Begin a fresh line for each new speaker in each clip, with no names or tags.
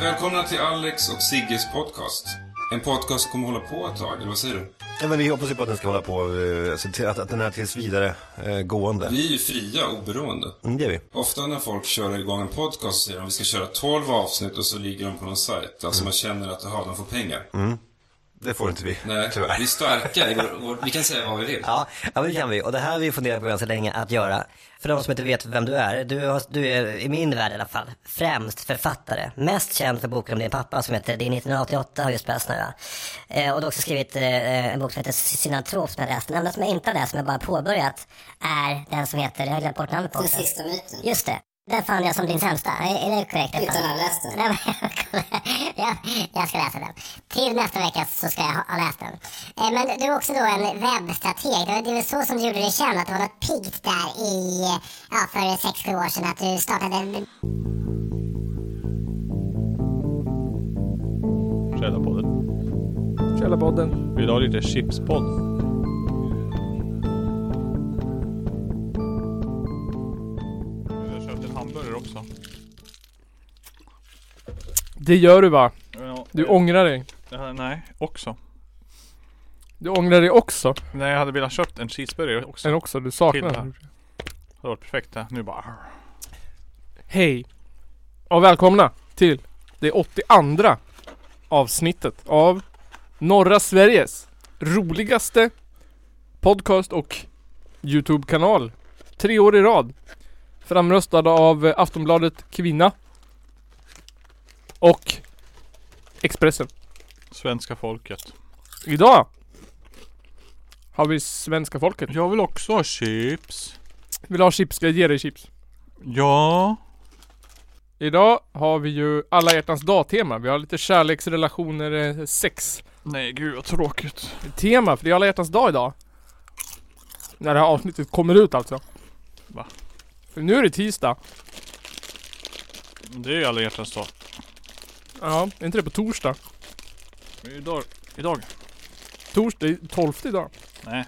Välkomna till Alex och Sigges podcast. En podcast som kommer hålla på ett tag, eller vad säger du?
Ja, men vi hoppas ju på att den ska hålla på, eh, alltså, till- att, att den är tills vidare eh, gående.
Vi är ju fria och oberoende.
Mm, det är vi.
Ofta när folk kör igång en podcast så säger de att vi ska köra 12 avsnitt och så ligger de på någon sajt. Alltså man känner att aha, de får pengar.
Det får inte vi,
Nej,
tyvärr.
vi är starka. i vår- vår- Vi kan säga vad vi vill.
Ja, ja, men det kan vi. Och det här har vi funderat på ganska länge att göra. För de som inte vet vem du är, du, har, du är i min värld i alla fall främst författare. Mest känd för boken om din pappa som heter Din 1988 har just börjat snöa. Eh, och du har också skrivit eh, en bok som heter Synatrop som jag läst. Den enda som jag inte har läst, som jag bara påbörjat, är den som heter, jag har glömt bort namnet på
Den
också.
sista myten.
Just det. Den fann jag som din sämsta. Är är det korrekt?
Utan att ha läst den.
Nej, men jag kommer- jag, jag ska läsa den. Till nästa vecka så ska jag ha, ha läst den. Eh, men du är också då en webbstrateg. Det var- Det är väl så som du gjorde dig känd, att du var något piggt där i, eh, ja, för sex sju år sedan, att du startade en
Källarpodden.
Källarpodden.
Vill du ha lite chipspodd? Jag har köpt en hamburgare också.
Det gör du va?
Ja,
Du ångrar dig.
eh, Nej, också.
Du ångrar dig också.
Nej, jag hade velat köpt en cheeseburgare också.
Eller
Det
också, du saknar
Killar.
den.
hade varit perfekt det. Nu bara... arr.
Hej. Och välkomna till det 82 avsnittet av norra Sveriges roligaste podcast och Youtube-kanal. Tre år i rad. Framröstad av eh, Aftonbladet Kvinna. Och Expressen.
Svenska folket.
Idag har vi svenska folket.
Jag vill också ha chips.
Vill du ha chips? Ska jag ge dig chips?
Ja.
Idag har vi ju alla hjärtans dag-tema. Vi har lite kärleksrelationer, eh, sex
Nej, gud vad tråkigt.
tema för det är alla hjärtans dag idag. När det här avsnittet kommer ut alltså.
Va?
För nu är det tisdag.
Det är alla hjärtans dag.
Ja, är inte det på torsdag?
Men Idag. Idag.
Torsdag, är 12 idag.
Nej,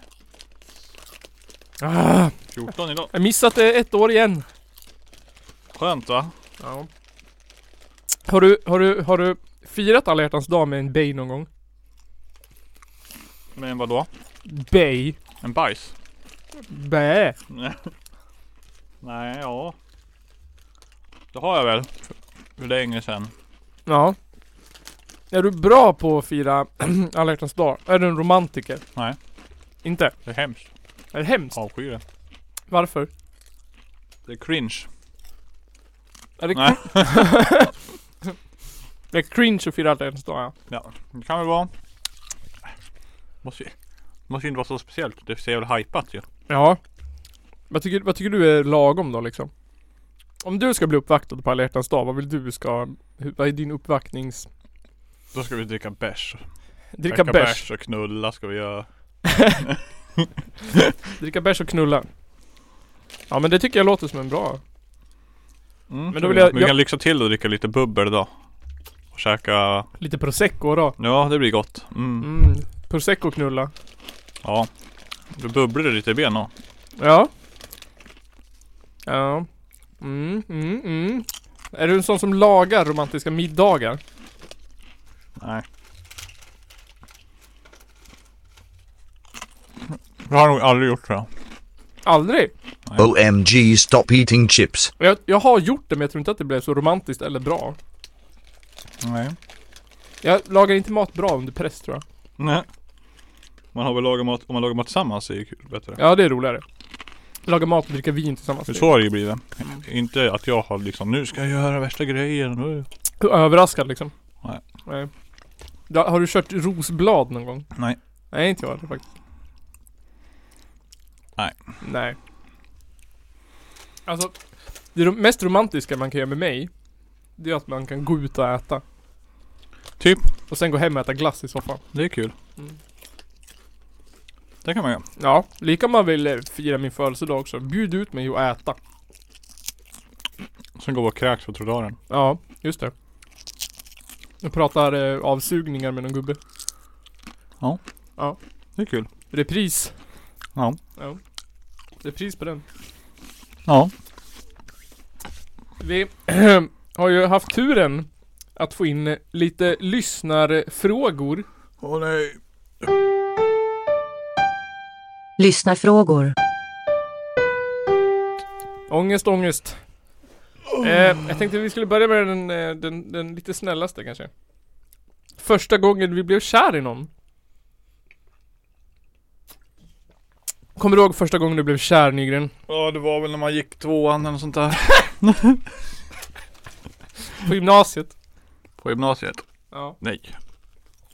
Ah,
14 idag.
jag missat det ett år igen.
Skönt va?
Ja. Har du, har du, har du firat alla hjärtans dag med en bay någon gång?
Men vadå?
Bay?
En bajs?
Bä?
Nej. Nej, ja. Det har jag väl. För- För länge sedan.
Ja. Är du bra på att fira alla hjärtans dag? Är du en romantiker?
Nej.
Inte?
Det är hemskt.
Är det hemskt?
Avskyr det.
Varför?
Det är cringe.
Är det,
Nej.
det är cringe att fira alla hjärtans dag ja.
Ja, det kan väl vara. Måste ju, måste ju inte vara så speciellt. Det ser väl hypat ju.
Ja. Vad tycker, vad tycker du är lagom då liksom? Om du ska bli uppvaktad på alla hjärtans dag, vad vill du ska... hur- Vad är din uppvaktnings...
Då ska vi dricka bärs.
Dricka bärs.
och knulla ska vi göra.
Dricka bärs och knulla. Ja men det tycker jag låter som en bra...
Mm,
Men
men då
då vill jag-
Vi
jag-
kan lyxa till och dricka lite bubbel då. Och käka.
Lite prosecco då.
Ja, det blir gott. Mm.
Mm. Prosecco och knulla.
Ja. Du bubblar det lite i benen.
Ja. Ja. Mm, mm, mm. Är du en sån som lagar romantiska middagar?
Nej. Det har jag nog aldrig gjort tror jag.
Aldrig.
OMG, stop eating chips.
Jag, jag har gjort det men jag tror inte att det blev så romantiskt eller bra.
Nej.
Jag lagar inte mat bra under press tror jag.
Nej. Man har väl lagat mat, om man lagar mat tillsammans är ju kul, bättre.
Ja det är roligare. Laga mat och dricka vin tillsammans.
För så har det ju blivit. Inte att jag har liksom, nu ska jag göra värsta grejen. nu."
Överraskad liksom.
Nej.
Nej. Da, har du kört rosblad någon gång?
Nej.
Nej inte jag heller faktiskt.
Nej.
Nej. Alltså, det ro- mest romantiska man kan göra med mig, det är att man kan gå ut och äta.
Typ.
Och sen gå hem och äta glass i soffan.
Det är kul.
Mm.
Det kan man göra.
Ja, lika om man vill eh, fira min födelsedag också. Bjud ut mig och äta.
Sen går vi och kräks på trottoaren.
Ja, just det. Jag pratar eh, avsugningar med någon gubbe.
Det är kul.
Repris.
Ja.
Ja. Repris på den.
Ja.
Vi har ju haft turen att få in eh, lite lyssnarfrågor.
Åh nej.
Lyssnarfrågor.
Ångest, ångest. Eh, jag tänkte vi skulle börja med den, eh, den, den lite snällaste kanske. Första gången vi blev kär i någon. Kommer du ihåg första gången du blev kär Nygren?
Ja, det var väl när man gick tvåan eller sånt där.
På gymnasiet?
På gymnasiet.
Ja.
Nej.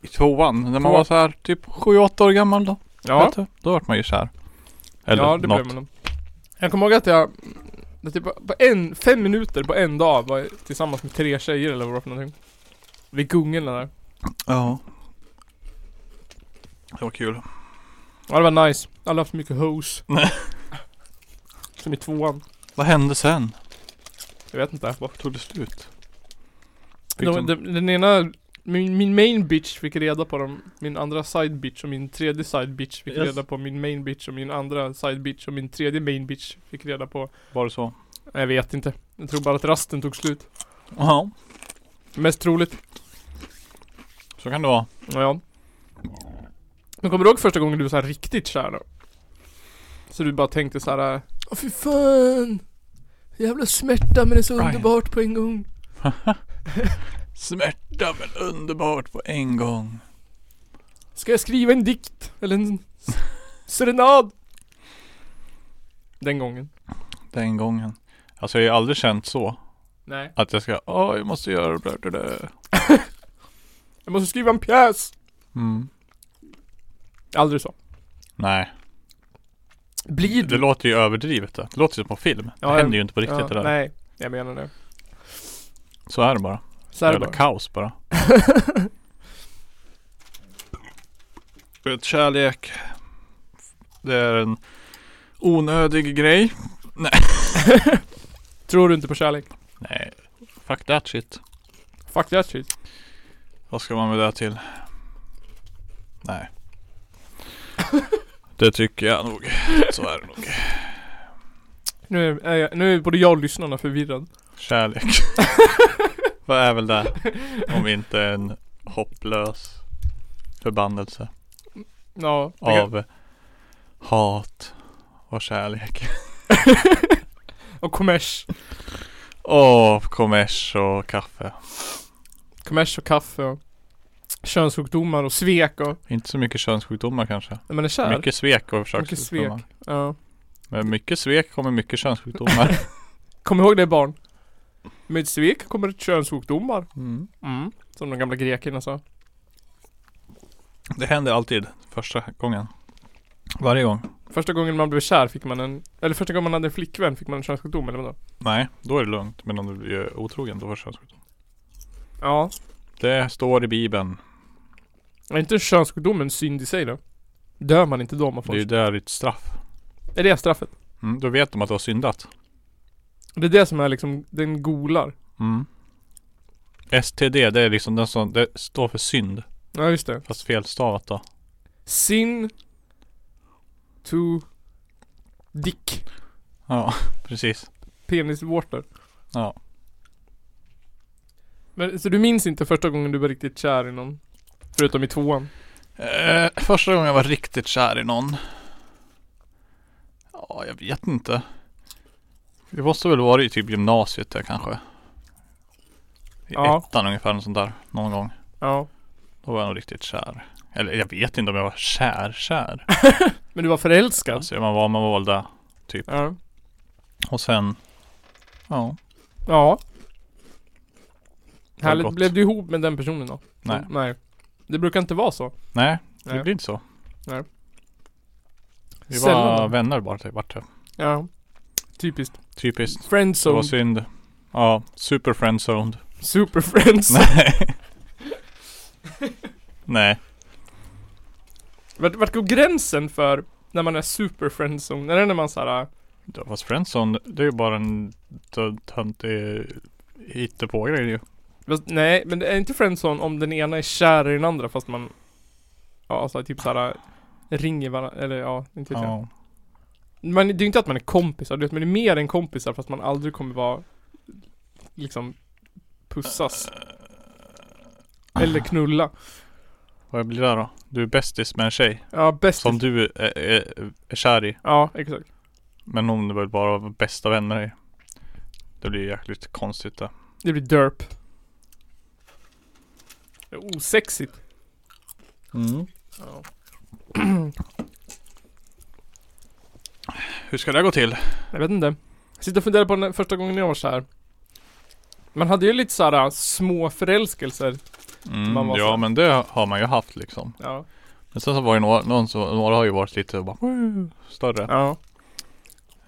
I tvåan, när man
Två-
var så här typ 7-8 år gammal då.
Ja.
Vet du? Då vart man ju kär. Eller
ja, det
något.
blev man nog. Jag kommer ihåg att jag, att typ på en, fem minuter på en dag var jag tillsammans med tre tjejer eller vad det var för någonting. Vid gungorna där.
Ja. Det var kul.
Ja det var nice. Alla har haft mycket hose.
Nej.
Som i tvåan.
Vad hände sen?
Jag vet inte.
Varför tog det slut? Fick
De, den, den ena, min, min main bitch fick reda på dem. Min andra side bitch och min tredje side bitch fick
Yes.
reda på min main bitch och min andra side bitch och min tredje main bitch fick reda på.
Var det så?
Nej, Jag vet inte. Jag tror bara att rasten tog slut.
Ja,
Mest troligt.
så kan det vara.
Ja, ja. Men kommer du ihåg första gången du var så här riktigt kär då? Så du bara tänkte så här. äh, Åh fy fan! Jävla smärta men det är så
Brian.
underbart på en gång.
Smärta men underbart på en gång.
Ska jag skriva en dikt? Eller en s- serenad? Den gången.
Den gången. Alltså jag har ju aldrig känt så.
Nej.
Att jag ska, åh jag måste göra det där, det där.
Jag måste skriva en pjäs!
Mm.
Aldrig så.
Nej,
Blir
det
du?
låter ju överdrivet det. Det låter ju som på film.
Ja,
det
jag-
händer ju inte på riktigt
Ja,
det där.
Nej, jag menar det.
Så är det bara.
Så är det
Jävla
bara.
kaos bara. Vet, kärlek. Det är en onödig grej.
Tror du inte på kärlek?
Nej, fuck that shit.
Fuck that shit.
Vad ska man med det till? Nej. Det tycker jag nog. Så är det nog.
Nu är, är jag, nu är både jag och lyssnarna förvirrad.
Kärlek. Vad är väl det? Om inte en hopplös förbannelse
Ja. det kan-
av hat och kärlek.
Och kommers.
Åh, kommers och kaffe.
Kommers och kaffe och könssjukdomar och svek och...
Inte så mycket könssjukdomar kanske.
När man är kär.
Mycket svek och
Mycket svek.
försökssjukdomar.
Ja.
Men mycket svek kommer mycket könssjukdomar.
Kom ihåg det barn. Med svek kommer könssjukdomar.
Mm.
Mm. Som de gamla grekerna sa.
Det händer alltid första gången. Varje gång.
Första gången man blev kär fick man en... Eller första gången man hade en flickvän fick man en könssjukdom eller vadå?
Nej, då är det lugnt. Men om du blir otrogen, då är det könssjukdom.
Ja.
Det står i bibeln.
Är inte en könssjukdom en synd i sig då? Dör man inte då om man
Det
får...
är ju där ditt straff.
Är det straffet?
Mm, då vet de att du har syndat.
Det är det som är liksom, den golar.
Mm. STD, det är liksom den som, det står för synd.
Ja just det.
Fast felstavat då.
Sin... To... Dick.
Ja, precis.
Penisvårtor.
Ja.
Men, så du minns inte första gången du var riktigt kär i någon? Förutom i tvåan?
Eh, första gången jag var riktigt kär i någon. Ja, jag vet inte. Det måste väl vara i typ gymnasiet där kanske. I
Ja.
ettan ungefär, något sånt där. Någon gång.
Ja.
Då var jag nog riktigt kär. Eller jag vet inte om jag var kär, kär.
Men du var förälskad?
Alltså man var, man var väl där. typ.
Ja.
Och sen, ja,
Ja.
Det var
Härligt.
gott.
Blev du ihop med den personen då?
nej.
Nej. Det brukar inte vara så.
Nej,
Nej.
det blir inte så.
Nej.
Vi var
Sällan.
vänner bara typ, vart det.
Ja. Typiskt.
Typiskt. Det var
Friendzone.
synd. Ja, super friendzoned.
Super friends.
Nej. nej.
Vart, vart går gränsen för när man är super friendzone? Är det när man såhär...
Ja, Fast Friendzone, det är ju bara en tö- töntig hittepågrej ju.
Fast, nej, men det är inte friendzone om den ena är kär i den andra fast man... Ja, alltså typ såhär... Ringer varandra, eller ja, inte vet jag.
Ja.
Men det är ju inte att man är kompisar, du vet, men det är mer än kompisar fast man aldrig kommer vara... Liksom... Pussas. Eller knulla.
Vad blir det då? Du är bästis med en tjej
Ja, bäst.
som du är, är, är kär i.
Ja, exakt.
Men hon är väl bara bästa vän med dig. Det blir jäkligt konstigt det.
Det blir derp. Det är Osexigt. Mm.
Hur ska det gå till?
Jag vet inte. Jag sitter och funderar på den första gången jag var så här. Man hade ju lite så här äh, små förälskelser. Man
Mm,
var
ja
så-
men det har man ju haft liksom.
Ja.
Men sen så var det några, någon som, några har ju varit lite bara, "Woo", större.
Ja.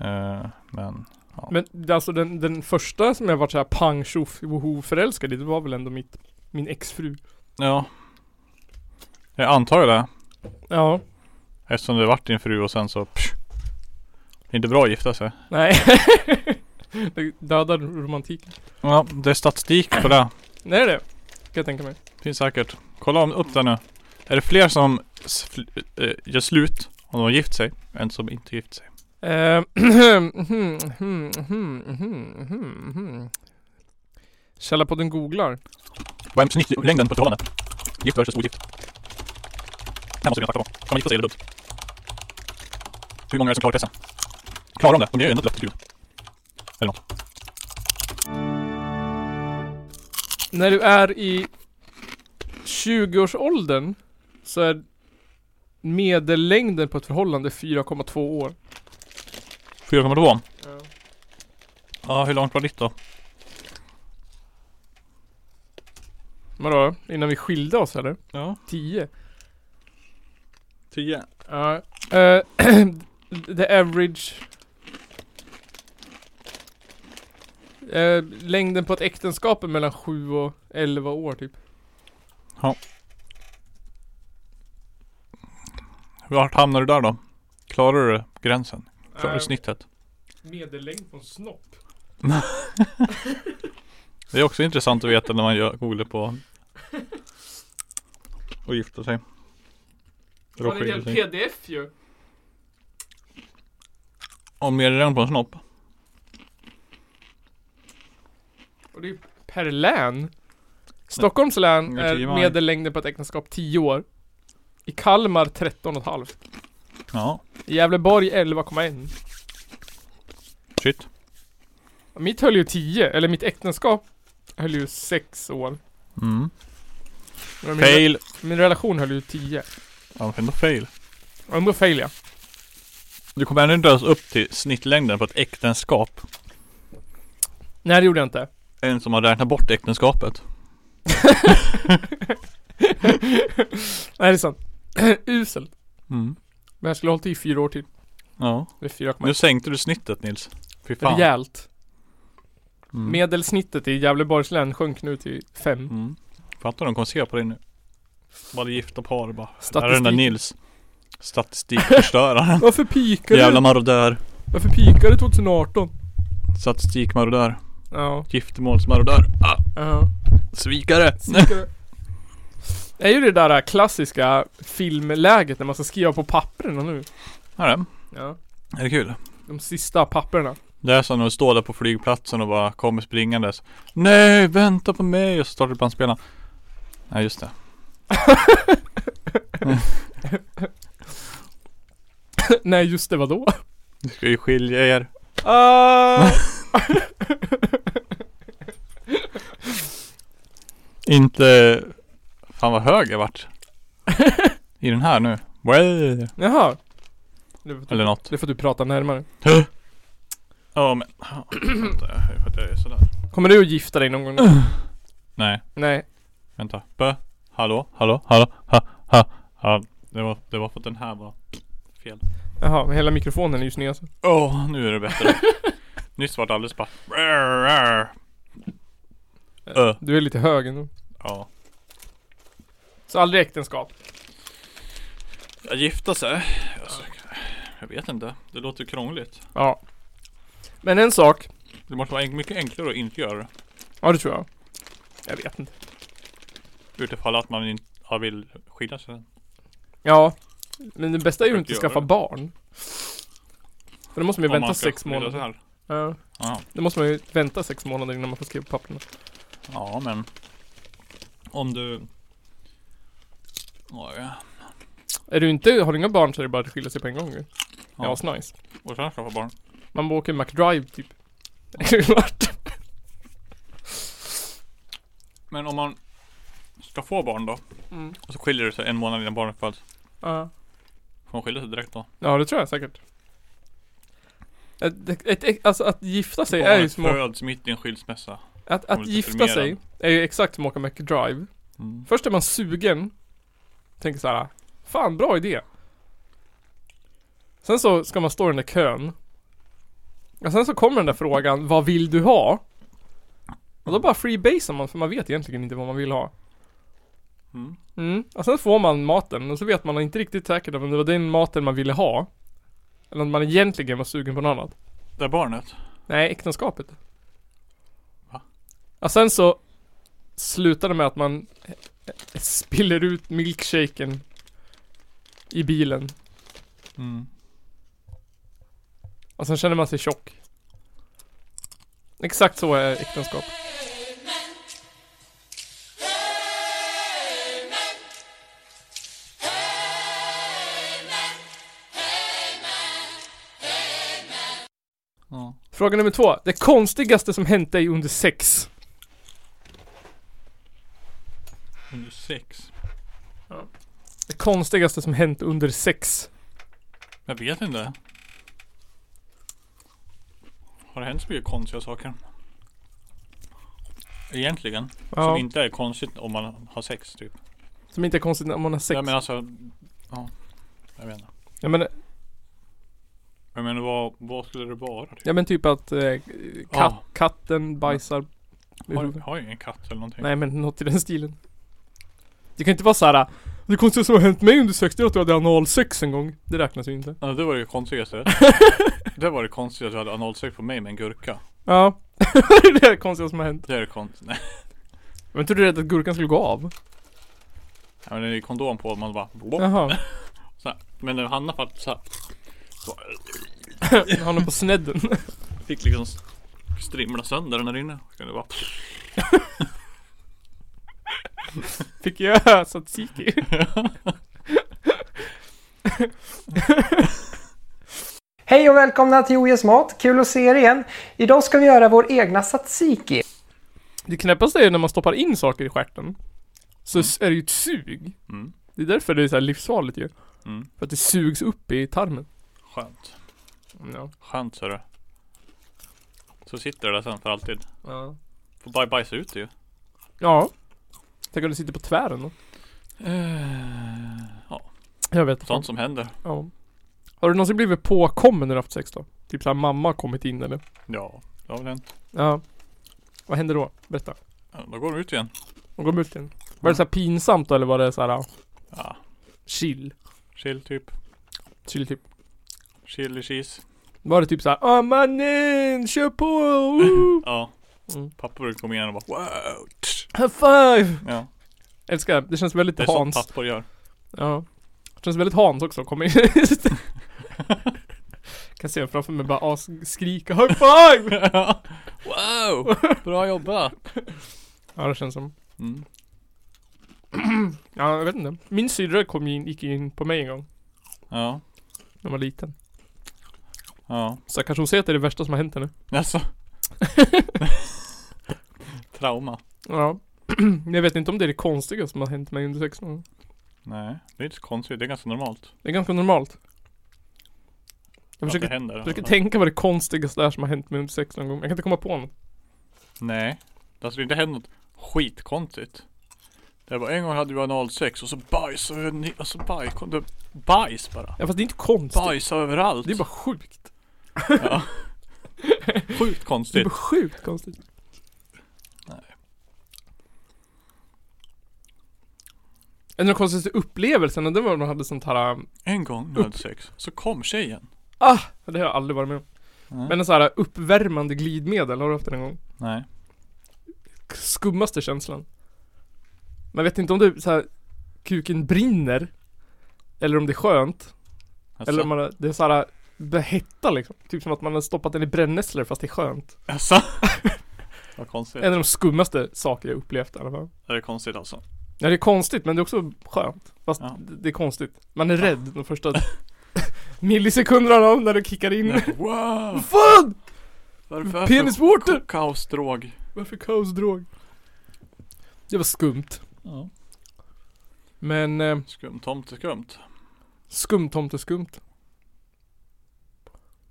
Eh, men
Men det- alltså den, den första som jag varit såhär pang tjoff woho förälskad i, det var väl ändå mitt, min exfru.
ja. Jag antar ju det.
Ja.
Eftersom det vart din fru och sen så psh, Det är inte bra att gifta sig.
Nej. det dödar romantiken.
Ja, det är statistik på det.
Nej det är det. Kan jag tänka mig.
Finns säkert. Kolla om, upp det nu. Är det fler som s- fl- eh, gör slut om de har gift sig än som inte gift sig?
Eh, mhm, mhm, mhm, mhm, mhm, mhm. Källarpodden googlar.
Vad är snittlängden på ett förhållande? Gift versus ogift. Det här måste vi ha fakta på. Kan man gifta sig eller dumt? Hur många är det som klarar pressen? Klarar de det? De ger ju ändå ett löfte till Gud. Eller något.
När du är i 20-årsåldern så är medellängden på ett förhållande 4,2 år.
4,2? Ja, hur långt var ditt då?
Vadå? Innan vi skilde oss eller?
Ja,
10?
10.
Ja. eh, the average... Eh, längden på ett äktenskap är mellan 7 och 11 år typ.
Vart hamnar du där då? Klarar du gränsen? Klarar du
Eh,
snittet?
Medellängd på en snopp?
Det är också intressant att veta när man gör, googlar på och gifta sig. Eller
Har ni en
skiljer sig.
pdf ju?
Om mer än på en snopp.
Och det är per län. Stockholms län
Inga tio
är
maj.
medellängden på ett äktenskap 10 år. I Kalmar 13,5.
Ja,
I Gävleborg 11,1.
shit.
Mitt höll ju 10, eller mitt äktenskap höll ju 6 år.
Mm.
Men Min,
Fail.
min relation höll ju 10.
Ja, men ändå fail.
Ändå fail jag.
Du kommer ändå inte ens upp till snittlängden på ett äktenskap.
Nej det gjorde jag inte.
En som har räknat bort äktenskapet.
Nej det är sant. Uselt.
Mm.
Men jag skulle ha hållit i 4 år till.
Ja.
Det är 4,1.
Nu sänkte du snittet Nils. Fy fan.
Rejält.
Mm.
Medelsnittet i Gävleborgs län sjönk nu till 5.
Mm. Fattar de kommer se på dig nu. Bara gifta par bara. Där är den där
Statistik.
Nils. Statistikförstöraren.
Varför pikar
Jävla
du?
marodör.
Varför pikar du 2018?
Statistikmarodör.
Ja.
Giftermålsmarodör. Ah,
Ja.
svikare.
Snickare. Det är ju det där äh, klassiska filmläget när man ska skriva på papperna nu.
Här är det.
Ja.
Är det kul?
De sista papperna.
Det är som när du står där på flygplatsen och bara kommer springandes. Nej, vänta på mig! Och så startar bandspelaren. Nej, just det.
Nej just det, vadå?
Ni ska ju skilja er.
Ah!
Inte... Fan vad hög jag vart. I den här nu. Well.
Jaha. Det är för att du-
Eller något.
det är för att du pratar närmare.
Ja men. Ja, vänta, jag- för att jag är sådär.
Kommer du att gifta dig någon gång? nu?
Nej,
Nej.
vänta. Bö. Hallå, hallå, hallå, ha, ha, ha. Det var, det var för att den här var fel.
Jaha, men hela mikrofonen är ju sned. alltså.
Åh, nu är det bättre. Nyss var det alldeles bara... Ö.
Du är lite hög ändå.
Ja.
Så aldrig äktenskap.
Att gifta sig? Alltså, jag vet inte. Det låter krångligt.
Ja. Men en sak.
Det måste vara en- mycket enklare att inte göra det.
Ja det tror jag. Jag vet inte.
Utifall att man inte ja, vill skilja sig.
Ja. Men det bästa är ju
Ska
att
inte
inte
göra
skaffa
det.
barn. För då måste man ju
Om
vänta
man ska
sex
skilja sig
månader.
här.
Ja.
Ja.
Då måste man ju vänta sex månader innan man får skriva på papperna.
ja, men. Om du Oj. Ja.
Är du inte, har du inga barn så är det bara att skilja sig på en gång ju. Det är
Ja.
asnice.
Och sen skaffa barn.
Man åker McDrive typ. Vart?
Men om man ska få barn då?
Mm.
Och så skiljer det sig en månad innan barnet föds.
Ja.
Får man skilja sig direkt då?
Ja, det tror jag säkert. Ett, ett, ett, alltså att gifta sig är ju
Barnet
som att,
föds mitt i en skilsmässa.
att,
man
att
blir
gifta
deprimerad.
sig är ju exakt som att åka McDrive.
Mm.
Först är man sugen. Tänker så här. Fan, bra idé. Sen så ska man stå i den där kön. Och sen så kommer den där frågan, vad vill du ha? Och då bara freebasar man för man vet egentligen inte vad man vill ha.
Mm.
Mm. Och sen får man maten och så vet man inte riktigt säkert om det var den maten man ville ha. Eller om man egentligen var sugen på något annat.
Det är barnet.
Nej, äktenskapet.
Va?
Och sen så slutar det med att man eh, eh, spiller ut milkshaken i bilen.
Mm.
Och sen känner man sig tjock. Exakt så är äktenskap.
Ja.
Fråga nummer två. Det konstigaste som hänt dig under sex?
Under sex.
Det konstigaste som hänt under sex?
Jag vet inte. Har det hänt så mycket konstiga saker? Egentligen. Som
Ja,
inte är konstigt om man har sex typ.
som inte är konstigt om man har sex.
Ja men alltså. Ja. Jag vet inte.
ja, men,
Jag menar vad, vad skulle det vara? Typ?
ja, men typ att eh, kat,
Ja.
katten bajsar i
Har,
huvudet.
har jag ingen katt eller någonting?
Nej men något i den stilen. Det kan inte vara såhär, det konstigaste som har hänt mig under sex det är att jag hade analsex en gång. Det räknas ju inte.
Ja, det var det konstigaste. det var det konstigaste att jag hade analsex på mig med en gurka.
Ja. det är det konstigaste som har hänt.
Det är det konstigt. Nej.
Var inte du rädd att gurkan skulle gå av?
Ja, men det är kondom på och man bara.
Jaha.
Så här. Men den hamnade faktiskt såhär.
Jag har någon på snedden.
Fick liksom s- strimla sönder den här inne. Och det bara,
Fick jag tzatziki?
Hej och välkomna till OES Mat! Kul att se er igen! Idag ska vi göra vår egna tzatziki.
Det knäppaste är ju när man stoppar in saker i stjärten. Så s- är det ju ett sug.
Mm.
Det är därför det är så här livsfarligt ju.
Mm.
För att det sugs upp i tarmen.
skönt.
Ja.
Skönt så det. Så sitter det där sen för alltid.
Ja.
Får bara bajsa ut det ju.
ja. Tänk om det sitter på tvären då. Eh,
ja,
Jag vet
sånt som händer.
Ja. Har du någonsin blivit påkommen när du haft sex då? Typ såhär mamma har kommit in eller?
Ja, det har väl hänt.
Ja. Vad händer då? Berätta.
Ja, då går de ut igen.
Hon går ut igen. Var det såhär pinsamt då eller var det såhär ja,
Ja,
chill?
chill typ.
Chill typ.
Chili cheese.
Var det typ såhär ah mannen, kör på! Woo!
Ja.
Mm.
Pappa brukar komma igen och bara wow. tsch.
High five!
Ja,
Älskar det. Det känns väldigt
det är sånt
Hans.
pappor gör.
Ja. Det känns väldigt Hans också att komma in. kan se framför mig bara as skrika high five!
wow, bra jobbat.
Ja det känns som.
Mm.
Ja jag vet inte. Min syrra kom in, gick in på mig en gång.
Ja,
När jag var liten.
ja.
Så kanske hon säger att det är det värsta som har hänt henne.
Alltså. Trauma.
Ja. Men jag vet inte om det är det konstiga som har hänt mig under sex månader.
Nej, det är inte så konstigt. Det är ganska normalt.
Det är ganska normalt. Jag
att
försöker,
det händer.
jag försöker tänka vad det konstigaste är som har hänt mig under sex någon gång. Jag kan inte komma på något.
Nej. Alltså det har inte hänt något skitkonstigt. Det var en gång hade vi analsex och så bajs över ni- alltså bajs, kom det bajs bara.
Ja fast det är inte konstigt.
Bajs överallt.
Det är bara sjukt.
ja. Sjukt
Det är
konstigt.
bara sjukt konstigt.
Nej.
En av de konstigaste upplevelserna det var när man hade sånt här... um,
En gång när jag hade sex så kom tjejen.
Ah! Det har jag aldrig varit med om.
Nej.
Men en sån här uppvärmande glidmedel, har du haft det någon gång?
Nej.
skummaste känslan. Man vet inte om det så här, kuken brinner. Eller om det är skönt.
Alltså,
Eller om man, har- det är så här behetta liksom. Typ som att man har stoppat den i brännässlor fast det är skönt.
alltså. Vad konstigt.
En av de skummaste saker jag upplevt i alla fall.
Det är konstigt alltså.
Ja det är konstigt men det är också skönt. Fast
Ja.
det det är konstigt. Man är rädd de första millisekunderna av när du kickar in.
Wow!
Fan!
Varför? varför-
Penisvårtor!
Kaosdrog.
Varför kaosdrog? Det var skumt.
Ja.
Men eh,
Skumt, tomt, skumt.
skumtomteskumt.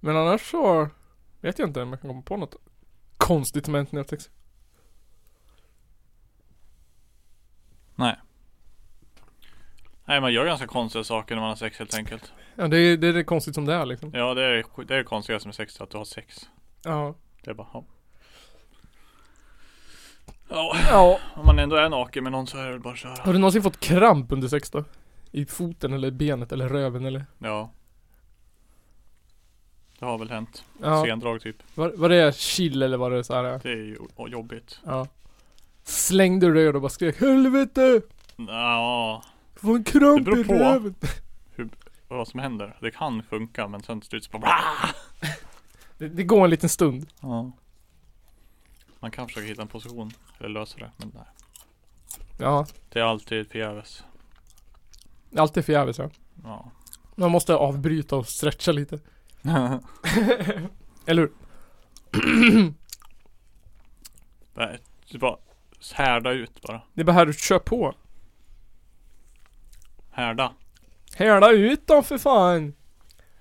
Men annars så vet jag inte om jag kan komma på något konstigt som hänt när jag upptäcks.
Nej man gör ganska konstiga saker när man har sex helt enkelt.
Ja det är, det är det konstigt som det är liksom.
Ja det är sk- det, är det konstigaste med sex, att du har sex.
Ja.
Det är bara, ja. Ja,
ja.
om man ändå är naken med någon så är det väl bara att köra.
Har du någonsin fått kramp under sex då? I foten eller benet eller röven eller?
Ja. Det har väl hänt.
Ja.
Sendrag typ.
Var, var det chill eller var det så här? eh,
Det är ju o- jobbigt.
Ja. Slängde du dig och då bara skrek 'Helvete!
Ja,
Få en kramp
Det beror
i
på.
röven!'
vad som händer. Det kan funka men sen till slut så bara
Det, det går en liten stund.
ja. Man kan försöka hitta en position. Eller lösa det. Men nej.
Ja.
Det är alltid förgäves.
Allt är förgäves ja.
Ja.
Man måste avbryta och stretcha lite. Eller hur?
Nej, det är bara härda ut bara.
Det är bara här du kör på.
Härda.
Häla ut dem för fan!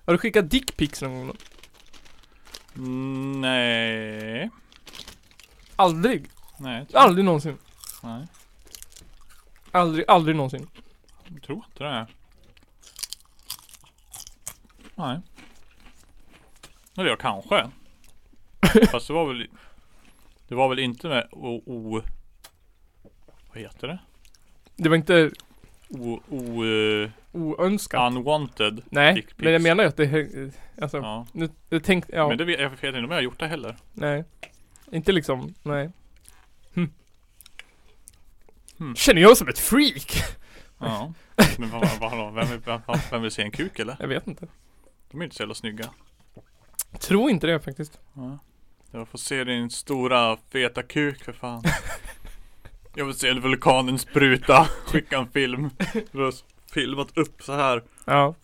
Har du skickat dickpics någon gång då?
Mm, Nej.
Aldrig.
Nej. jag tror-
Aldrig någonsin.
Nej.
Aldrig, aldrig någonsin.
Jag tror inte det. Nej. Eller jag kanske. Fast det var väl. Det var väl inte med o... o vad heter det?
Det var inte
O... o eh,
oönskat.
unwanted.
Nej,
dick pics.
men jag menar ju att det häng- Alltså,
Ja.
nu, jag tänkte, ja,
Men det vet jag vet inte om jag har gjort det heller.
nej. Inte liksom, nej. Hm.
Hmm.
Känner jag som ett freak?
Ja. Men vad, vad, vad, vem, vill- vem, vem vill se en kuk eller?
Jag vet inte.
De är inte så jävla snygga.
Tror inte det faktiskt.
Jag får se din stora feta kuk för fan Jag vill se vulkanen spruta Skicka en film Du har filmat upp så här
Ja.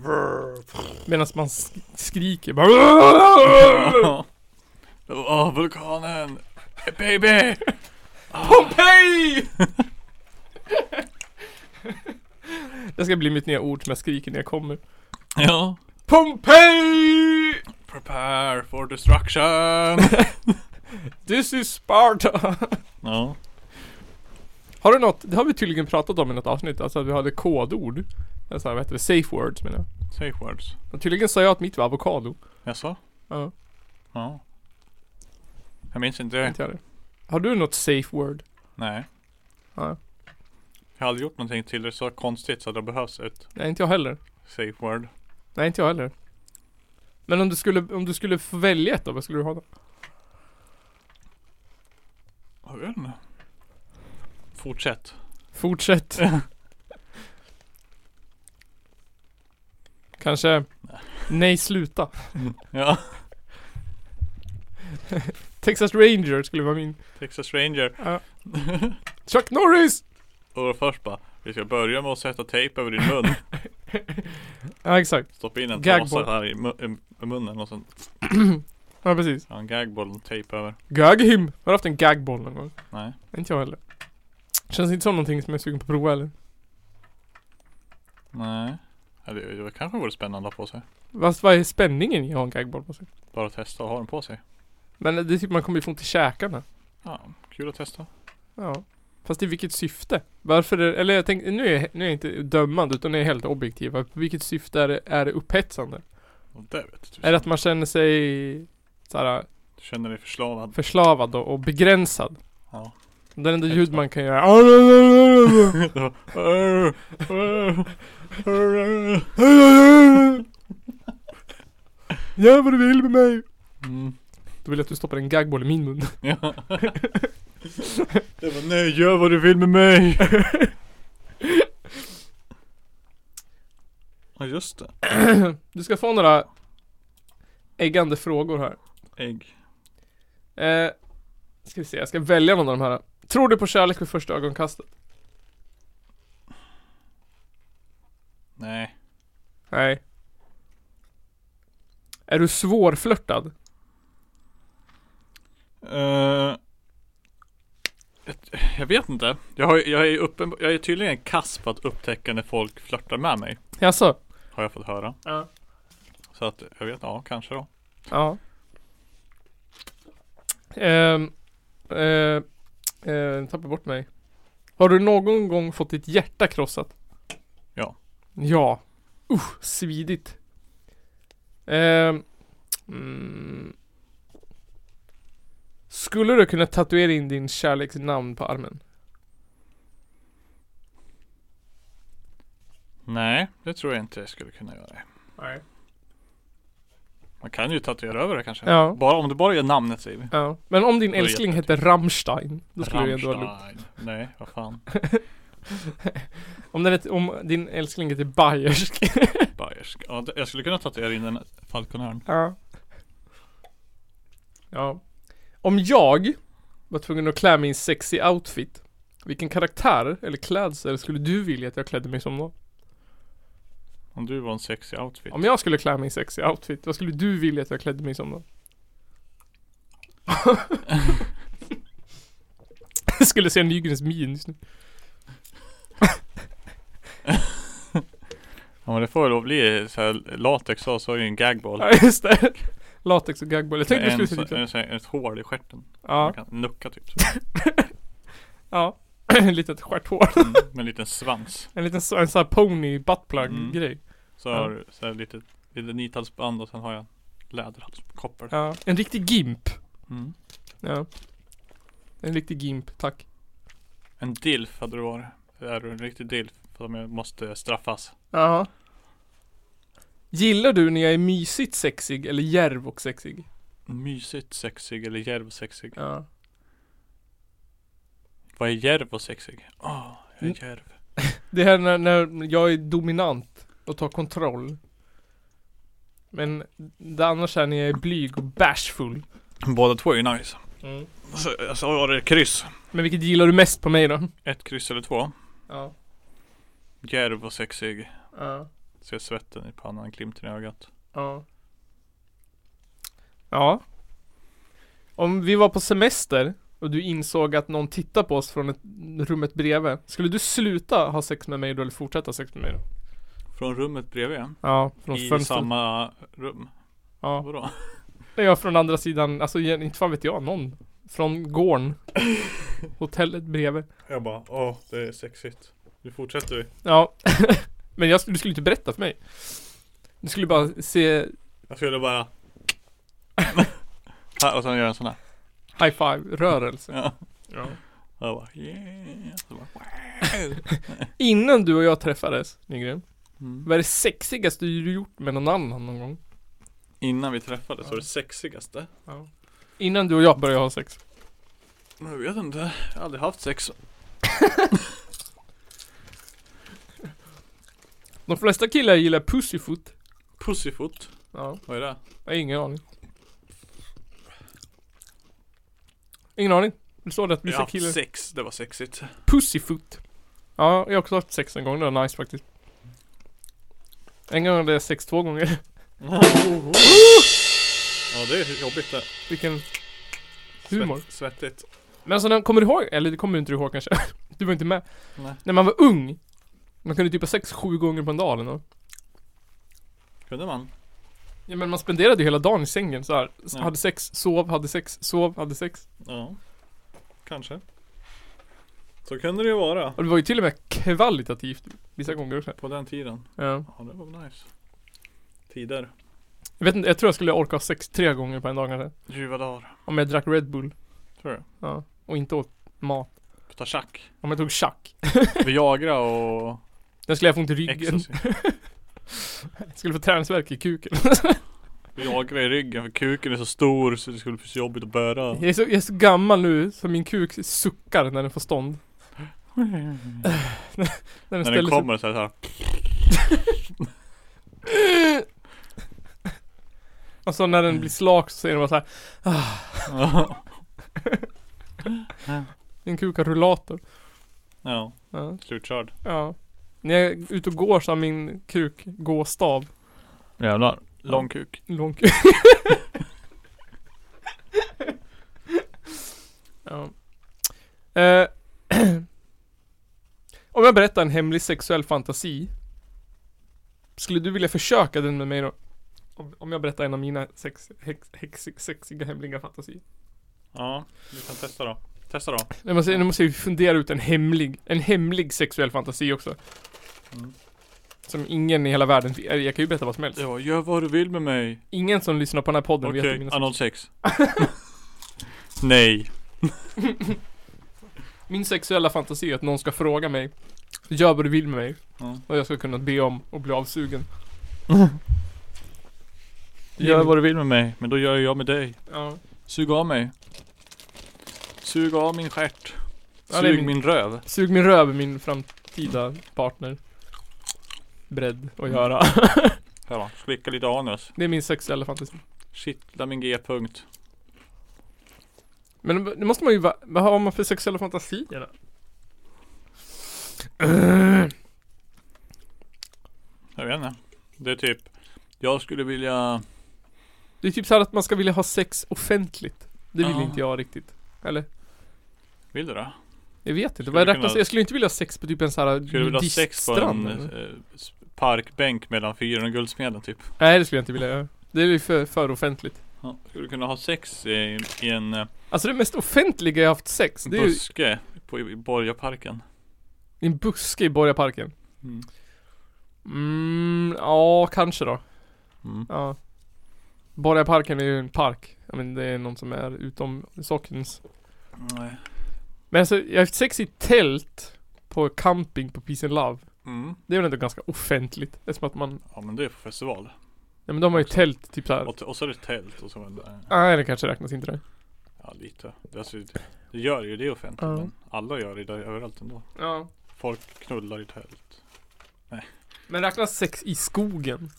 Medan man sk- skriker bara
Åh vulkanen Baby
Pompeji! Det ska bli mitt nya ord som jag skriker när jag kommer.
Ja
Pompeji!
Prepare for destruction
This is Sparta!
Ja
Har du något, det har vi tydligen pratat om i något avsnitt, alltså att vi hade kodord. Eller så här, vad heter det? Safe words menar jag.
Safe words
Och tydligen sa jag att mitt var avokado.
Jaså?
Ja,
Ja Jag minns inte det
inte jag det. Har du något safe word?
Nej
Nej.
Jag har aldrig gjort någonting till det så konstigt så att det behövs ett
Nej, inte jag heller.
safe word
Nej, inte jag heller. Men om du skulle, om du skulle få välja ett då, vad skulle du ha då?
Jag vet inte Fortsätt
Fortsätt. Kanske... Nej, sluta.
Ja,
Texas Ranger skulle vara min.
Texas Ranger.
Ja. Chuck Norris!
Och först bara, vi ska börja med att sätta tejp över din mun.
Ja, exakt.
Stoppa in en
Gagball.
trasa här i, mu- i munnen och sen
Ja, precis.
ja, en gagball och tejp över.
Gag him. Har du haft en gagboll någon gång?
Nej.
Inte jag heller. Känns inte som någonting som jag är sugen på att prova eller?
Nej. Ja, det, det kanske vore spännande att ha på sig.
Fast vad är spänningen i att ha en gagboll på sig?
Bara testa och ha den på sig.
Men det är typ man kommer ju få ont i käkarna.
Ja, kul att testa.
Ja. Fast i vilket syfte? Varför är, eller jag tänkte, nu är, jag- nu är jag inte dömande utan jag är helt objektiv. På vilket syfte är det, är det upphetsande?
Och det vet du.
Är det att man känner sig såhär,
Du känner dig förslavad.
förslavad och, och begränsad?
Ja.
Det enda
Helt
ljud
klart.
man kan göra är Gör vad du vill med mig!
Mm.
Då vill jag att du stoppar en gagboll i min mun.
Ja. Det var nej, gör vad du vill med mig. Ja just det.
Du ska få några äggande frågor här.
Ägg.
Eh, ska vi se, jag ska välja någon av de här. Tror du på kärlek vid första ögonkastet? Nej. Är du svårflörtad?
Eh, jag- jag vet inte. Jag, har, jag, är uppen, jag är tydligen kass på att upptäcka när folk flörtar med mig.
Jaså?
Har jag fått höra.
Ja.
Så att jag vet, ja kanske då.
Ja. Ehm, eh, eh, tappar bort mig. Har du någon gång fått ditt hjärta krossat?
Ja.
Ja. Usch, svidigt. Ehm, mm. Skulle du kunna tatuera in din kärleks namn på armen?
Nej, det tror jag inte jag skulle kunna göra.
Nej.
Man kan ju tatuera över det kanske.
Ja.
Bara, om du bara gör namnet säger vi.
Ja. Men om din
Det var
älskling hette Rammstein, då skulle du ändå ha lugnt.
Rammstein. Nej, vad fan.
Om, den hette- om din älskling heter Bayersk.
Bayersk. Ja, det- jag skulle kunna tatuera in en falconörn.
Ja. Ja. Om jag var tvungen att klä mig i en sexy outfit, vilken karaktär eller klädsel skulle du vilja att jag klädde mig som då?
Om du var en sexig outfit.
Om jag skulle klä mig i en sexy outfit, vad skulle du vilja att jag klädde mig som då? jag skulle se Nygrens min just nu.
Ja men det får väl bli så här latex och så har ju en gagball.
Ja, just det. Latex och gagball. Jag tänkte
Med
du skulle
en,
se
så,
lite...
en, så här- ett hål i stjärten. Man
Ja,
kan nucka typ.
ja. Litet stjärthår.
Mm, med en liten svans.
En liten så- en sån här pony buttplug
Mm.
grej.
Så har du så här lite, lite nithalsband och sen har jag läderhalskoppar.
Ja. En riktig gimp.
Mm.
Ja. En riktig gimp, tack.
En dilf hade du varit. Är du en riktig dilf? För att jag måste straffas.
Ja. Gillar du när jag är mysigt sexig eller järv och sexig?
Mysigt sexig eller djärv sexig?
Ja.
Vad är djärv och sexig? Åh, jag
Mm.
är djärv.
Det här när, när jag är dominant och tar kontroll. Men det annars är när jag är blyg och bashful.
Båda två är ju nice.
Mm.
Alltså, Så, jag sa var det kryss.
Men vilket gillar du mest på mig då?
Ett kryss eller två.
Ja.
Djärv och sexig.
Ja.
Ser svetten i pannan, glimten i ögat.
Ja. Ja. Om vi var på semester och du insåg att någon tittar på oss från ett rummet bredvid. Skulle du sluta ha sex med mig då eller fortsätta ha sex med mig då?
Från rummet bredvid.
Ja, från
I
fönstret.
samma rum.
Ja.
Vadå?
Nej, jag från andra sidan, alltså igen, inte fan vet jag, någon. Från gården. Hotellet bredvid.
Jag bara, åh det är sexigt. Nu fortsätter vi.
Ja. Men jag, skulle- du skulle inte berätta för mig. Du skulle bara se
Jag skulle bara... och sen gör jag en sån här.
high five-rörelse.
Ja.
Ja.
Och jag bara, yeah. Så bara,
Innan du och jag träffades, Nygren.
mm.
Vad är det sexigaste du gjort med någon annan någon gång?
Innan vi träffades var det sexigaste.
Innan du och jag började ha sex.
Men jag vet inte. Jag har aldrig haft sex.
De flesta killar gillar pussyfoot.
Pussyfoot.
Ja,
Vad är det?
jag har ingen aning. Ingen aning. Det står det att
jag
vissa
har haft
killar...
sex. Det var sexigt.
Pussyfoot. Ja, jag har också haft sex en gång. Det var nice faktiskt. En gång hade jag sex två gånger.
Ja det är jobbigt det.
Vilken humor.
Svett, svettigt.
Men alltså, när- kommer du ihåg? Eller det kommer du inte ihåg kanske. Du var inte med.
Nej.
När man var ung. Man kunde typ ha sex sju gånger på en dag eller något.
Kunde man?
Ja men man spenderade ju hela dagen i sängen så här. S-
Ja.
Hade sex, sov, hade sex, sov, hade sex.
Ja. Kanske. Så kunde det ju vara.
Och det var ju till och med kvalitativt vissa gånger också.
På den tiden.
Ja.
Ja det var nice. Tider.
Jag vet inte, jag tror jag skulle orka ha sex tre gånger på en dag kanske.
Ljuva dagar.
Om jag drack Red Bull.
Tror du?
Ja. Och inte åt mat.
Ta tjack.
Om jag tog chack.
Viagra och
Den skulle jag få ont i ryggen.
ecstasy.
Skulle få träningsvärk i kuken.
Viagra i ryggen för kuken är så stor så det skulle bli så jobbigt att bära.
Jag är, så, jag är så gammal nu så min kuk suckar när den får stånd. När den,
När den
ställer
kommer så är det så här.
Sig, alltså när den blir slak så säger den bara så här. Min kuk har rullator.
ja,
Ja.
slutkörd.
ja. När jag är ute och går så har min kuk gåstav.
Jävlar. Lång kuk.
Lång kuk. ja. eh, om jag berättar en hemlig sexuell fantasi. Skulle du vilja försöka den med mig då? Om, om jag berättar en av mina sex, hex, hex, sexiga hemliga fantasier.
Ja, vi kan testa då. Testa då.
Nu måste, nu måste vi fundera ut en hemlig, en hemlig sexuell fantasi också.
Mm.
Som ingen i hela världen, eller jag kan ju berätta vad som helst.
Ja, gör vad du vill med mig.
Ingen som lyssnar på den här podden
Okej,
vet hur mina
analsex. Nej.
Min sexuella fantasi är att någon ska fråga mig Gör vad du vill med mig
Ja.
Och jag ska kunna be om och bli avsugen
Gör vad du vill med mig, men då gör jag med dig.
Ja,
Sug av mig. Sug av min stjärt.
Ja, det är
Sug
min-
min röv.
sug min röv min framtida partner Beredd
Mm.
att göra
Här va, slicka lite anus.
Det är min sexuella fantasi
Kittla min g-punkt.
Men nu måste man ju va- Vad har man för sexuella fantasier då?
Jag vet inte. Det är typ, jag skulle vilja...
Det är typ så här att man ska vilja ha sex offentligt Det vill
Ja.
inte jag riktigt Eller?
Vill du det?
Jag vet inte,
Skulle
vad
kunna-
räknas? Jag skulle inte vilja ha sex på typ en sån här
Skulle du vilja ha sex på en
nudiststrand, eller?
eh, s- parkbänk mellan fyren och Guldsmeden typ?
Nej det skulle jag inte vilja göra. Det är ju för, för offentligt.
Ja. Skulle du kunna ha sex i, i en eh,
Alltså det mest offentliga jag haft sex, det är ju
buske på, i Borgaparken?
i en buske i Borgaparken.
Mm.
Mm, ja kanske då.
Mm.
Ja. Borgaparken är ju en park. Ja men det är någon som är utom sockens.
Nej.
Men alltså jag har haft sex i tält på camping på Peace and Love.
Mm.
Det är väl ändå ganska offentligt. Eftersom att man,
Ja men det är på festival.
ja men de har ju tält typ såhär.
Och, och så är det tält och så. eh,
Nej det kanske räknas inte det.
Ja lite. Det, alltså, det gör ju det offentligt.
Ja.
Men alla gör det där överallt ändå.
Ja.
Folk knullar i tält.
Men räknas sex i skogen?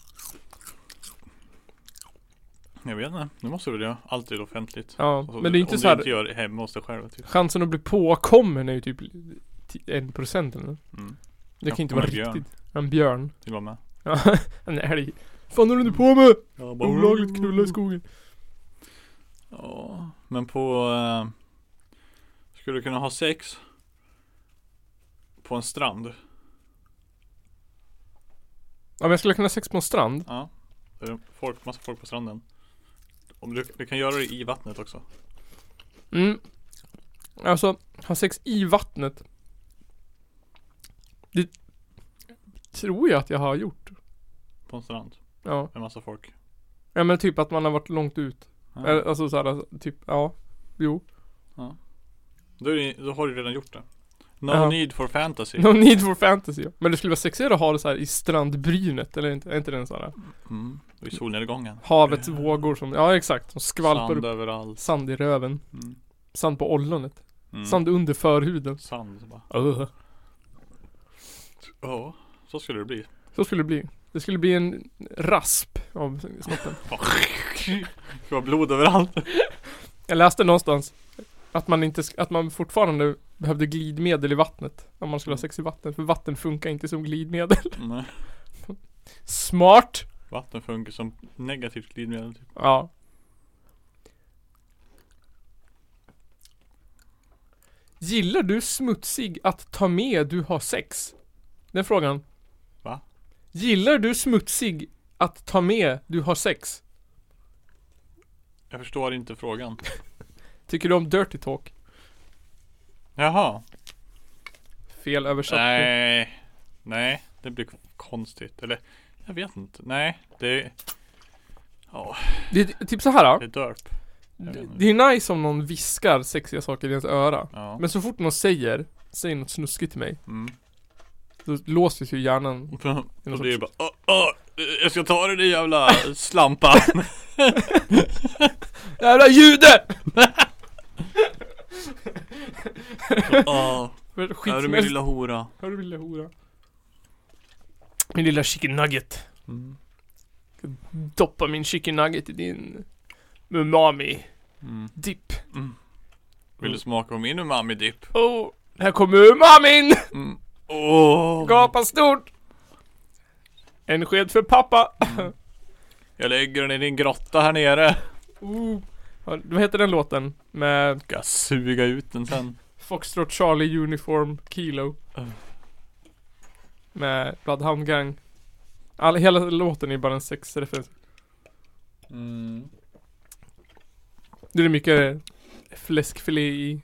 Jag vet inte. Nu måste du det. Allt är offentligt.
Ja.
Alltså,
Men det är inte
om
så här.
du inte gör det hemma hos dig själv typ.
Chansen att bli påkommen är ju typ 1% eller nåt.
Mm.
Det
Ja,
kan inte
men
vara
en björn.
riktigt. En björn.
Vill du vara med?
Ja, en älg. Fan håller du på med?
Ja,
Olagligt knulla i skogen.
Ja, men på... Eh, skulle du kunna ha sex? På en strand?
Ja men jag skulle kunna ha sex på en strand.
Ja. Det är folk, massa folk på stranden. Om du, du kan göra det i vattnet också.
Mm. Alltså, ha sex i vattnet. Det tror jag att jag har gjort.
På en strand.
Ja.
Med massa folk.
Ja men typ att man har varit långt ut.
Ja.
Eller, Alltså såhär, typ, ja. Jo.
Då, är det, då har du redan gjort det. No
Ja.
need for fantasy.
No need for fantasy. Men det skulle vara sexigare att ha det så här i strandbrynet, eller inte? Är inte den såhär
Mm. Och i solnedgången.
havets vågor som, ja exakt, som skvalpar
Eh, Sand
upp
överallt.
sand i röven.
Mm.
Sand på ollonet.
Mm.
Sand under förhuden.
Sand. så bara.
Ugh.
Ja, så skulle det bli.
Så skulle det bli. Det skulle bli en rasp av snoppen.
Det var blod överallt.
Jag läste någonstans att man, inte, sk- att man fortfarande behövde glidmedel i vattnet. Om man skulle
Mm.
ha sex i vattnet. För vatten funkar inte som glidmedel.
Nej.
Smart!
Vatten funkar som negativt glidmedel. Typ.
Ja. Gillar du smutsig att ta med du har sex? Den frågan.
Va?
Gillar du smutsig att ta med du har sex?
Jag förstår inte frågan.
Tycker du om dirty talk?
Jaha.
Fel översatt.
Nej. Nej, det blir konstigt. Eller, jag vet inte. Nej, det... Ja,
Det är typ så här. ja.
det är dörp. Jag vet inte.
Det är nice om någon viskar sexiga saker i ens öra.
Ja.
Men så fort någon säger, säg något snuskigt till mig.
Mm.
Då låses ju hjärnan.
Och det är bara åh, åh, jag ska ta dig din jävla slampa.
Jävla jude!
Åh,
Skit
är du
som
min
helst.
lilla hora?
Hör du min lilla hora? Min lilla chicken nugget.
Mm.
Doppa min chicken nugget i din umami
Mm.
dipp.
Vill du smaka på min umami-dipp?
Oh, här kommer umamin!
Mm. Åh,
Gapa stort! En sked för pappa!
jag lägger den i din grotta här nere.
Ooh. Ja, Vad heter den låten? Med
Ska suga ut den sen.
Foxtrot Charlie Uniform Kilo.
Mm.
Med Bloodhound Gang. All, hela låten är bara en sexreferens.
Mm.
Det är mycket fläskfilé i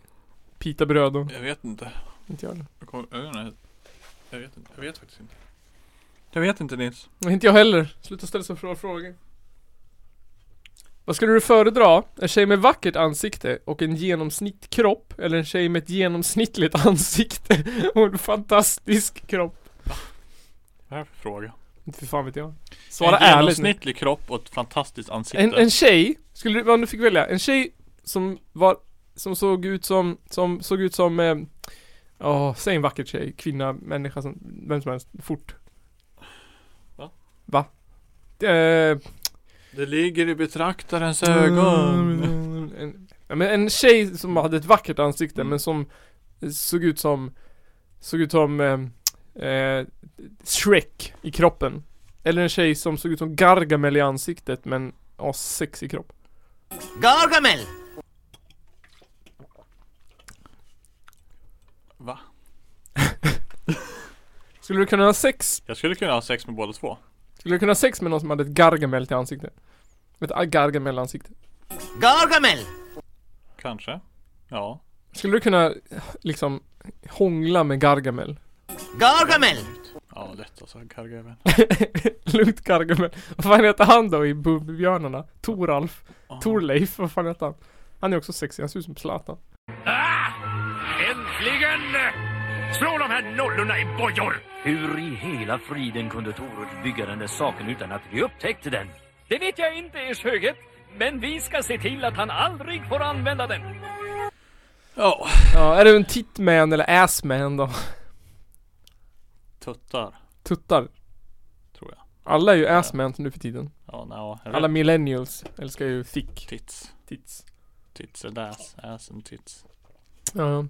pitabröd och
Jag vet inte.
inte jag heller.
Jag, kommer, jag, vet inte. jag vet inte. Jag vet faktiskt inte. Jag vet inte Nils.
Nej, Inte jag heller. Sluta ställa så bra frågor. Vad skulle du föredra? En tjej med vackert ansikte och en genomsnittkropp eller en tjej med ett genomsnittligt ansikte och en fantastisk kropp?
Vad är det för fråga?
Inte för fan vet jag. Svara
en
ärligt nu.
genomsnittlig kropp och ett fantastiskt ansikte.
En, en tjej, skulle du, om du fick välja, en tjej som var, som såg ut som, som såg ut som, eh, åh, säg en vacker tjej, kvinna, människa som, vem som helst, fort.
Va?
Va? Eh,
Det ligger i betraktarens ögon.
en, ja, men en tjej som hade ett vackert ansikte
Mm.
men som såg ut som Såg ut som eh, eh, Shrek i kroppen Eller en tjej som såg ut som Gargamel i ansiktet men har sexig kropp
Va?
Skulle du kunna ha sex?
Jag skulle kunna ha sex med båda två.
Skulle du kunna ha sex med någon som hade ett Gargamel till ansikte? Ett Gargamel-ansikte
Kanske. Ja.
Skulle du kunna liksom hångla med Gargamel?
Ja, lätt alltså. Kargöven.
Lugnt Gargamel. Vad fan heter han då i Bumbibjörnarna? Toralf? Torleif? Vad fan heter han? Han är också sexig, han ser ut som Zlatan.
Hur i hela friden kunde Torulf bygga den där saken utan att vi upptäckte den? Det vet jag inte, ers höghet. Men vi ska se till att han aldrig får använda den.
Ja.
Ja, är du en titman eller assman då?
Tuttar.
Tuttar.
Tror jag.
Alla är ju assman nu för tiden.
Ja, no,
Alla millennials älskar ju thick
Tits.
tits.
Tits and ass. Ass and tits.
Ja.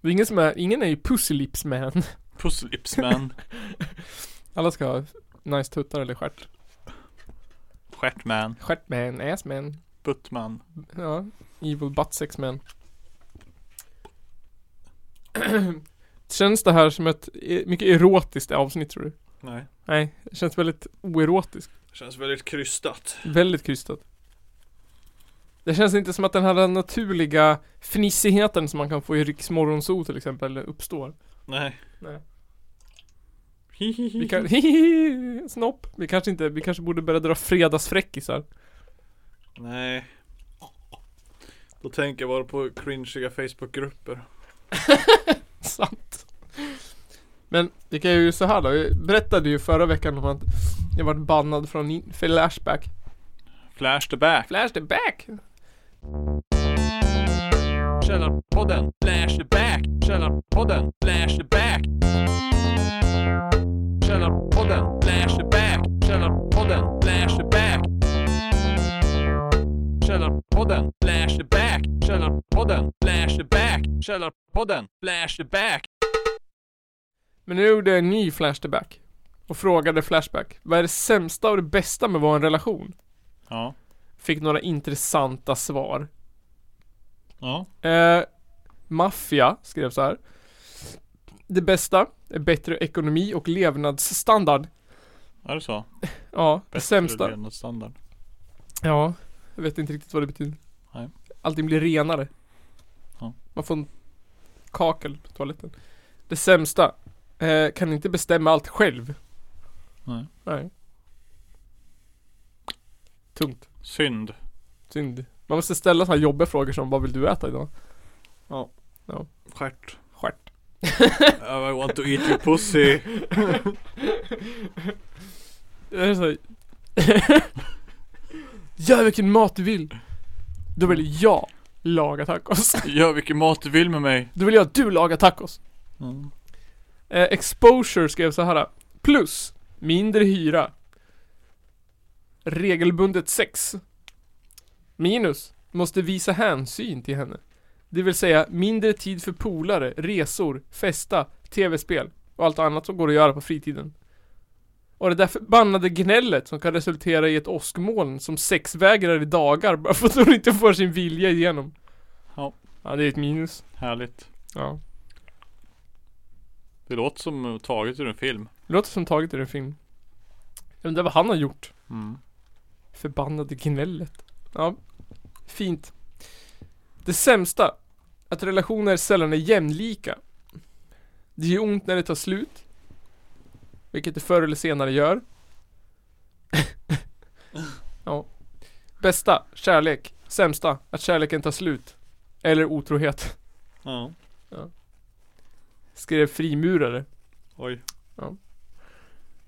Det är ingen som är, ingen är ju pussy lips man.
Pusslips man.
Alla ska ha nice tuttar eller stjärt.
Stjärtman.
Stjärtman, assman.
Buttman.
Ja, evil butt sex man. Känns det här som ett e- mycket erotiskt avsnitt tror du?
Nej.
Nej, det känns väldigt oerotiskt.
Känns väldigt krystat.
Väldigt krystat. Det känns inte som att den här naturliga fnissigheten som man kan få i Riks Morgonzoo till exempel uppstår.
Nej.
Nej. Vi
Hihihi.
kan, hihihi, snopp. Vi kanske inte, vi kanske borde börja dra fredagsfräckisar.
Nej. Då tänker jag bara på cringiga Facebookgrupper.
Sant. Men det kan ju så här då. Jag berättade ju förra veckan om att jag varit bannad från in- Flashback.
Flash the back.
Flashback?
Källarpodden. Flash the back. Källarpodden. Flash the back. Källarpodden. Flash the back. Källarpodden. Flash the back. Källarpodden. Flash the back. Källarpodden. Flash the back. Källarpodden. Flash the back.
Men nu gjorde jag en ny Flashback. Och frågade Flashback. Vad är det sämsta och det bästa med att vara i en relation?
Ja.
Fick några intressanta svar.
Ja.
Eh, Maffia skrev så här. Det bästa är bättre ekonomi och levnadsstandard.
Är det så?
Ja, det sämsta.
standard.
Ja, jag vet inte riktigt vad det betyder.
Nej.
Allting blir renare.
Ja.
Man får en kakel på toaletten. Det sämsta. Eh, kan inte bestämma allt själv.
Nej.
Nej. Tungt.
Synd.
Synd. Man måste ställa sådana jobbiga frågor som vad vill du äta idag?
Stjärt.
Stjärt.
I want to eat your pussy.
Det är så här- Gör vilken mat du vill. Då vill jag laga tacos.
Gör vilken mat du vill med mig.
Då vill jag att du lagar tacos.
Mm.
Eh, exposure skrev så här. Plus mindre hyra. Regelbundet sex. Minus måste visa hänsyn till henne. Det vill säga mindre tid för polare, resor, festa, tv-spel. och allt annat som går att göra på fritiden. Och det där förbannade gnället som kan resultera i ett åskmoln som sexvägrar i dagar bara för att hon inte får sin vilja igenom.
Ja.
Ja, det är ett minus.
Härligt.
Ja.
Det låter som taget ur en film.
Det låter som taget ur en film. Jag undrar vad han har gjort.
Mm.
Förbannade gnället. Ja. Fint. Det sämsta. Att relationer sällan är jämlika. Det gör ont när det tar slut. Vilket det förr eller senare gör. ja. Bästa. Kärlek. Sämsta. Att kärleken tar slut. Eller otrohet.
Ja.
Skrev frimurare.
Oj.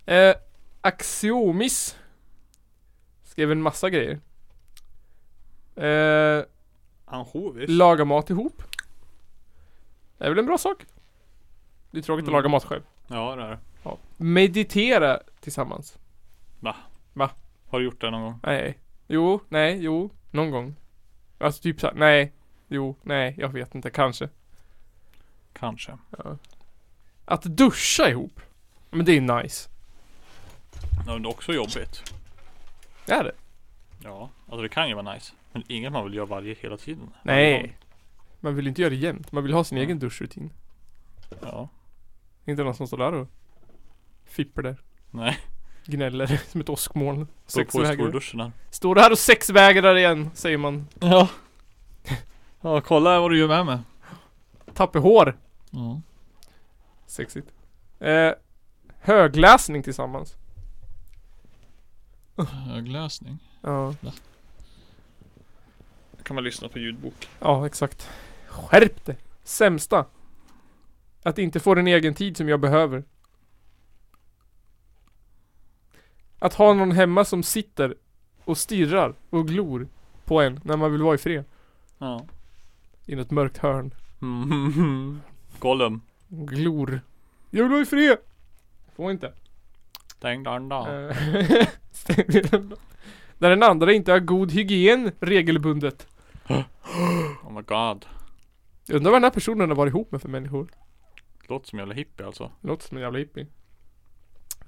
Eh, Axiomis skrev en massa grejer. Eh,
Ansjovis.
laga mat ihop. Det är väl en bra sak? Det är tråkigt
Mm.
att laga mat själv.
Ja det är det.
Ja. Meditera tillsammans.
Va?
Va?
Har du gjort det någon gång?
Nej. Jo, nej, jo. Någon gång. Alltså typ såhär, nej. Jo, nej, jag vet inte, kanske.
Kanske.
Att duscha ihop. Men det är nice.
Ja, men det är också jobbigt.
Det är det.
Ja. Alltså det kan ju vara nice. Men inget man vill göra varje hela tiden.
Nej. Man vill inte göra det jämt. Man vill ha sin egen duschrutin.
Ja.
Inte någon som står där och fipper där.
Nej.
Gnäller som ett åskmoln.
Stå på i
Sexvägrar.
storduschen här.
Står där och sexvägrar igen, säger man.
Ja. Ja kolla vad du gör med mig.
Tappar hår.
Ja.
Sexigt. Eh, högläsning tillsammans.
Högläsning.
Ja.
Kan man lyssna på ljudbok.
Ja, exakt. Skärp dig. Sämsta. Att inte få den egen tid som jag behöver. Att ha någon hemma som sitter och stirrar och glor på en när man vill vara i fred.
Ja.
I något mörkt hörn.
Mm. Gollum.
Glor. Jag vill vara i fred. Får inte.
Dang dang dang.
Eh, stäng dörren då. Där den andra inte har god hygien regelbundet.
Oh my god.
Jag undrar vad den här personen har varit ihop med för människor.
Låter som en jävla hippie alltså.
Låter som en jävla hippie.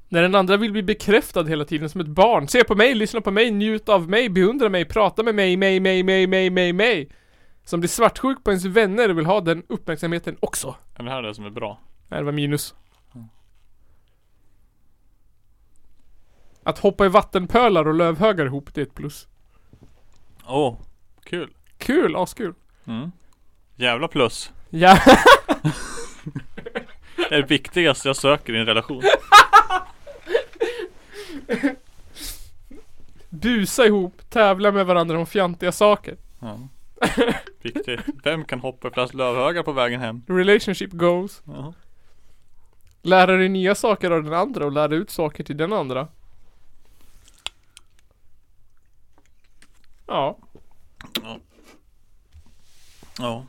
När den andra vill bli bekräftad hela tiden som ett barn. Se på mig, lyssna på mig, njut av mig, beundra mig, prata med mig, mig, mig, mig, mig, mig, mig. Som blir svartsjuk på ens vänner och vill ha den uppmärksamheten också.
Är det här det som är bra?
Nej, det var minus. Att hoppa i vattenpölar och lövhögar ihop, det är ett plus.
Åh. Kul.
Kul, askul.
Mm. Jävla plus.
Ja.
Det är det viktigaste jag söker i en relation.
Busa ihop, tävla med varandra om fjantiga saker.
Ja. Viktigt. Vem kan hoppa i flest lövhögar på vägen hem?
Relationship goals.
Ja.
Lära dig nya saker av den andra och lära ut saker till den andra. Ja,
Ja.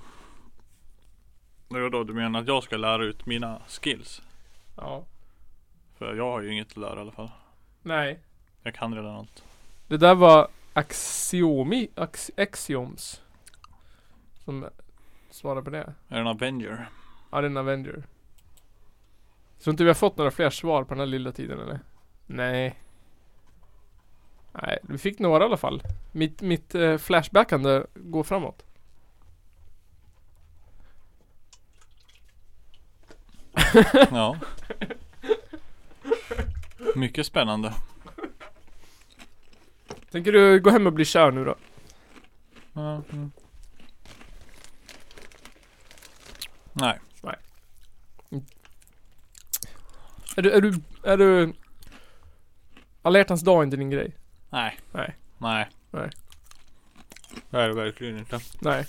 Och då, du menar att jag ska lära ut mina skills?
ja,
För jag har ju inget att lära i alla fall.
nej.
Jag kan redan allt.
Det där var Axiomi, ax, Axioms. Som svarar på det.
Jag är en Avenger.
Ja, det är en Avenger. Så inte vi har fått några fler svar på den här lilla tiden eller? Nej. Nej, vi fick några i alla fall. Mitt, mitt eh, flashbackande går framåt.
Ja. Mycket spännande.
Tänker du gå hem och bli kär nu då?
Ja, mm. Nej.
Är du, är du, är du... Alla hjärtans dag är inte din grej.
Nej.
Nej.
Nej.
Nej.
Det är det verkligen inte.
Nej.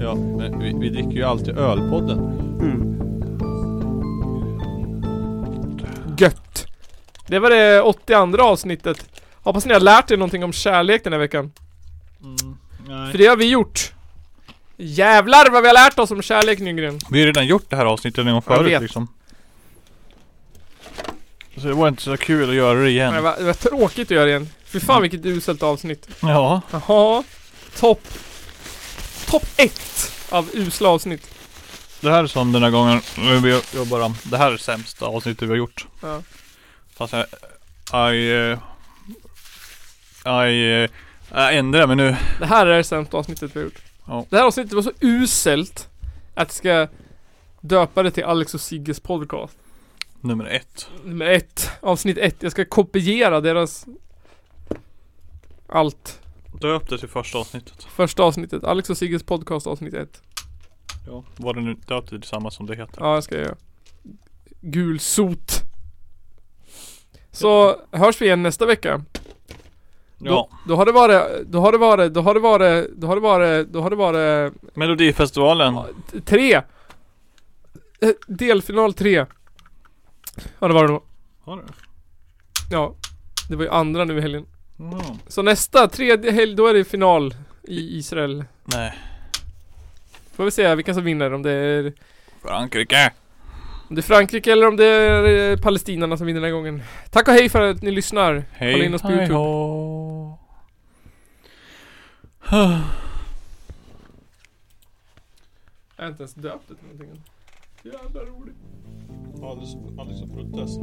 Ja, men vi, vi dricker ju alltid ölpodden.
Gött! Det var det 82 avsnittet. Hoppas ni har lärt er någonting om kärlek den här veckan. För
Nej.
det har vi gjort. Jävlar vad vi har lärt oss om kärlek Nygren.
Vi har redan gjort det här avsnittet en gång
Jag
förut
vet.
liksom. Så det var inte så kul att göra det
Men Det
igen.
var, det var tråkigt att göra igen. Fy fan vilket uselt avsnitt.
Ja.
Jaha. Topp. Topp 1. av usla avsnitt.
Det här är som den här gången vi jobbar om. Det här är sämsta avsnittet vi har gjort.
Ja.
Fast jag... I... eh, I... eh, Jag ändrar mig nu.
Det här är det sämsta avsnittet vi har gjort.
Ja.
Det här avsnittet var så uselt att jag ska döpa det till Alex och Sigges podcast.
Nummer ett.
Nummer ett, avsnitt ett. Jag ska kopiera deras allt.
Döp det till första avsnittet.
Första avsnittet, Alex och Sigges podcast avsnitt ett.
Ja. Var det nu döpt till samma som det heter?
Ja, det ska jag göra. Gul sot. Så hörs vi igen nästa vecka.
Ja.
Då, då har det varit, då har det varit, då har det varit, då har det varit, då har det varit
Melodifestivalen.
t- tre. Eh, Delfinal tre. Ja, det var det nog.
Har du?
Ja. Det var ju andra nu i helgen.
Ja.
Så nästa, tredje helg, då är det final i Israel.
Nej.
Får vi se vilka som vinner, om det är,
Frankrike.
om det är Frankrike eller om det är eh, palestinarna som vinner den här gången. Tack och hej för att ni lyssnar. Kolla
Hej.
in oss på
Hej
YouTube.
hå.
Jag har inte ens döpt det till någonting än. Jävla roligt.
Alldeles, alldeles som protest.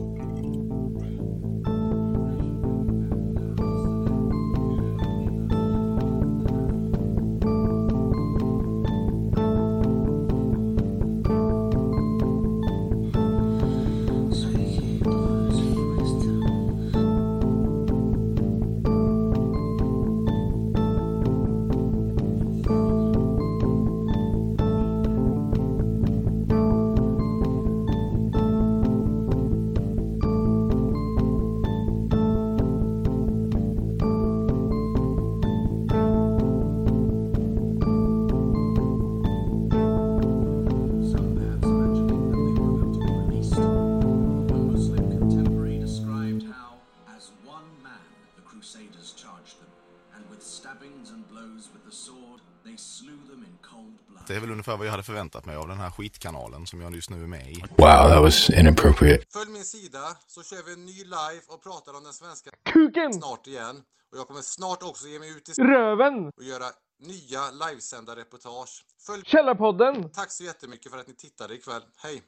Det är väl ungefär vad jag hade förväntat mig av den här skitkanalen som jag just nu är med i.
Wow, that was inappropriate.
Följ min sida så kör vi en ny live och pratar om den svenska
Kuken!
snart igen. Och jag kommer snart också ge mig ut i
Röven!
och göra nya livesända reportage. Följ...
Källarpodden!
Tack så jättemycket för att ni tittade ikväll. Hej!